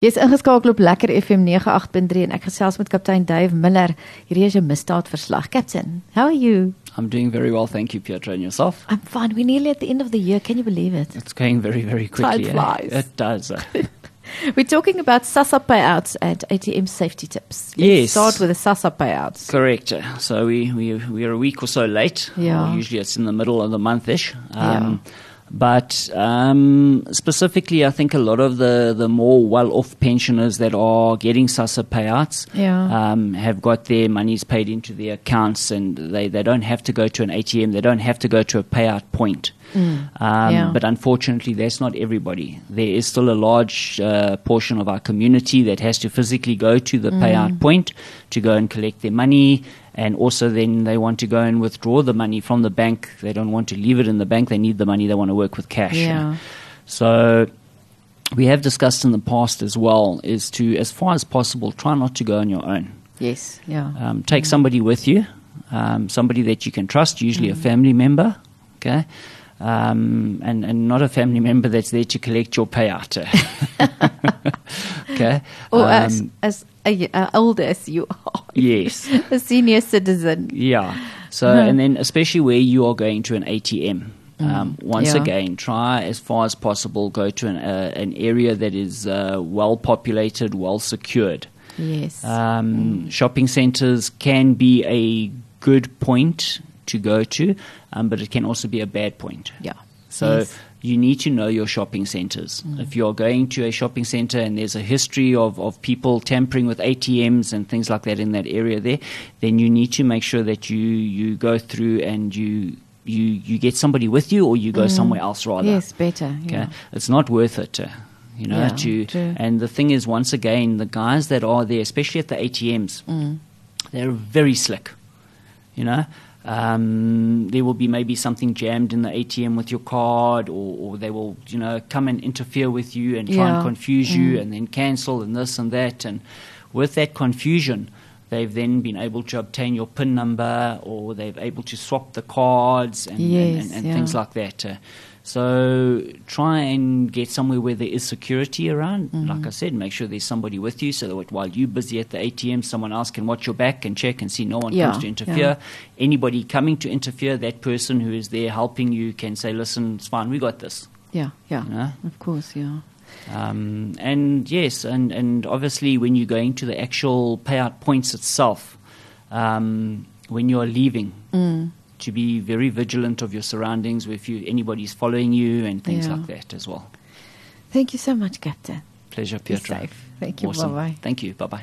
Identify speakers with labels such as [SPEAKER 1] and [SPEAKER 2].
[SPEAKER 1] Jy's ingeskakel op Lekker FM 98.3 en ek gesels met kaptein Dave Miller. Hierdie is 'n misdaadverslag. Captain, how are you?
[SPEAKER 2] I'm doing very well, thank you, Pietra, and yourself.
[SPEAKER 1] I'm fine. We're nearly at the end of the year. Can you believe it?
[SPEAKER 2] It's going very, very quickly. eh?
[SPEAKER 1] flies.
[SPEAKER 2] It does. eh?
[SPEAKER 1] We're talking about SASSA payouts and ATM safety tips. Let's
[SPEAKER 2] Yes.
[SPEAKER 1] start with the SASSA payouts.
[SPEAKER 2] Correct. eh? So we, we we are a week or so late.
[SPEAKER 1] Yeah.
[SPEAKER 2] Well, usually it's in the middle of the monthish. Um, But um, specifically, I think a lot of the, the more well off pensioners that are getting SASA payouts
[SPEAKER 1] Yeah.
[SPEAKER 2] um, have got their monies paid into their accounts and they, they don't have to go to an ATM, they don't have to go to a payout point. Um,
[SPEAKER 1] Yeah.
[SPEAKER 2] But unfortunately, that's not everybody. There is still a large uh, portion of our community that has to physically go to the payout point to go and collect their money. And also, then they want to go and withdraw the money from the bank. They don't want to leave it in the bank. They need the money. They want to work with cash.
[SPEAKER 1] Yeah.
[SPEAKER 2] So, we have discussed in the past as well is to, as far as possible, try not to go on your own.
[SPEAKER 1] Yes, yeah.
[SPEAKER 2] Um, take somebody with you, um, somebody that you can trust, usually
[SPEAKER 1] Mm.
[SPEAKER 2] a family member, okay? Um, and, and not a family member that's there to collect your payout. okay?
[SPEAKER 1] or
[SPEAKER 2] Um,
[SPEAKER 1] as as uh, uh, old as you are,
[SPEAKER 2] Yes.
[SPEAKER 1] a senior citizen.
[SPEAKER 2] Yeah. So, and then especially where you are going to an ATM. Um, once
[SPEAKER 1] yeah.
[SPEAKER 2] again, try as far as possible go to an, uh, an area that is uh, well populated, well secured.
[SPEAKER 1] Yes.
[SPEAKER 2] Um, Shopping centres can be a good point to go to, um, but it can also be a bad point.
[SPEAKER 1] Yeah.
[SPEAKER 2] So
[SPEAKER 1] Yes. Mm.
[SPEAKER 2] you need to know your shopping centres. If you're going to a shopping centre and there's a history of, of people tampering with ATMs and things like that in that area there, then you need to make sure that you, you go through and you, you, you get somebody with you or you go somewhere else rather.
[SPEAKER 1] Mm. yes, better.
[SPEAKER 2] Okay?
[SPEAKER 1] Yeah.
[SPEAKER 2] It's not worth it. uh, you know,
[SPEAKER 1] Yeah,
[SPEAKER 2] to
[SPEAKER 1] true.
[SPEAKER 2] and the thing is, once again, the guys that are there, especially at the ATMs,
[SPEAKER 1] Mm.
[SPEAKER 2] they're very slick. You know, um, there will be maybe something jammed in the ATM with your card, or, or they will, you know, come and interfere with you and try
[SPEAKER 1] Yeah. Mm.
[SPEAKER 2] and confuse you, and then cancel and this and that, and with that confusion. They've then been able to obtain your PIN number, or they've able to swap the cards and, and-
[SPEAKER 1] Yes,
[SPEAKER 2] and, and
[SPEAKER 1] yeah.
[SPEAKER 2] things like that. Uh, so try and get somewhere where there is security around.
[SPEAKER 1] Mm-hmm.
[SPEAKER 2] Like I said, make sure there's somebody with you so that while you're busy at the ATM, someone else can watch your back and check and see no one
[SPEAKER 1] Yeah,
[SPEAKER 2] comes to interfere. Anybody coming to interfere, that person who is there helping you can say, listen, it's fine, we got this.
[SPEAKER 1] yeah, yeah,
[SPEAKER 2] Yeah.
[SPEAKER 1] Of course, yeah.
[SPEAKER 2] Um, and yes, and, and obviously when you're going to the actual payout points itself, um, when you're leaving,
[SPEAKER 1] Mm.
[SPEAKER 2] to be very vigilant of your surroundings, if you, anybody's following you and things
[SPEAKER 1] Yeah.
[SPEAKER 2] like that as well.
[SPEAKER 1] Thank you so much, Captain.
[SPEAKER 2] Pleasure,
[SPEAKER 1] Be
[SPEAKER 2] Pietro.
[SPEAKER 1] safe. Thank you.
[SPEAKER 2] Awesome.
[SPEAKER 1] Bye bye.
[SPEAKER 2] Thank you. Bye bye.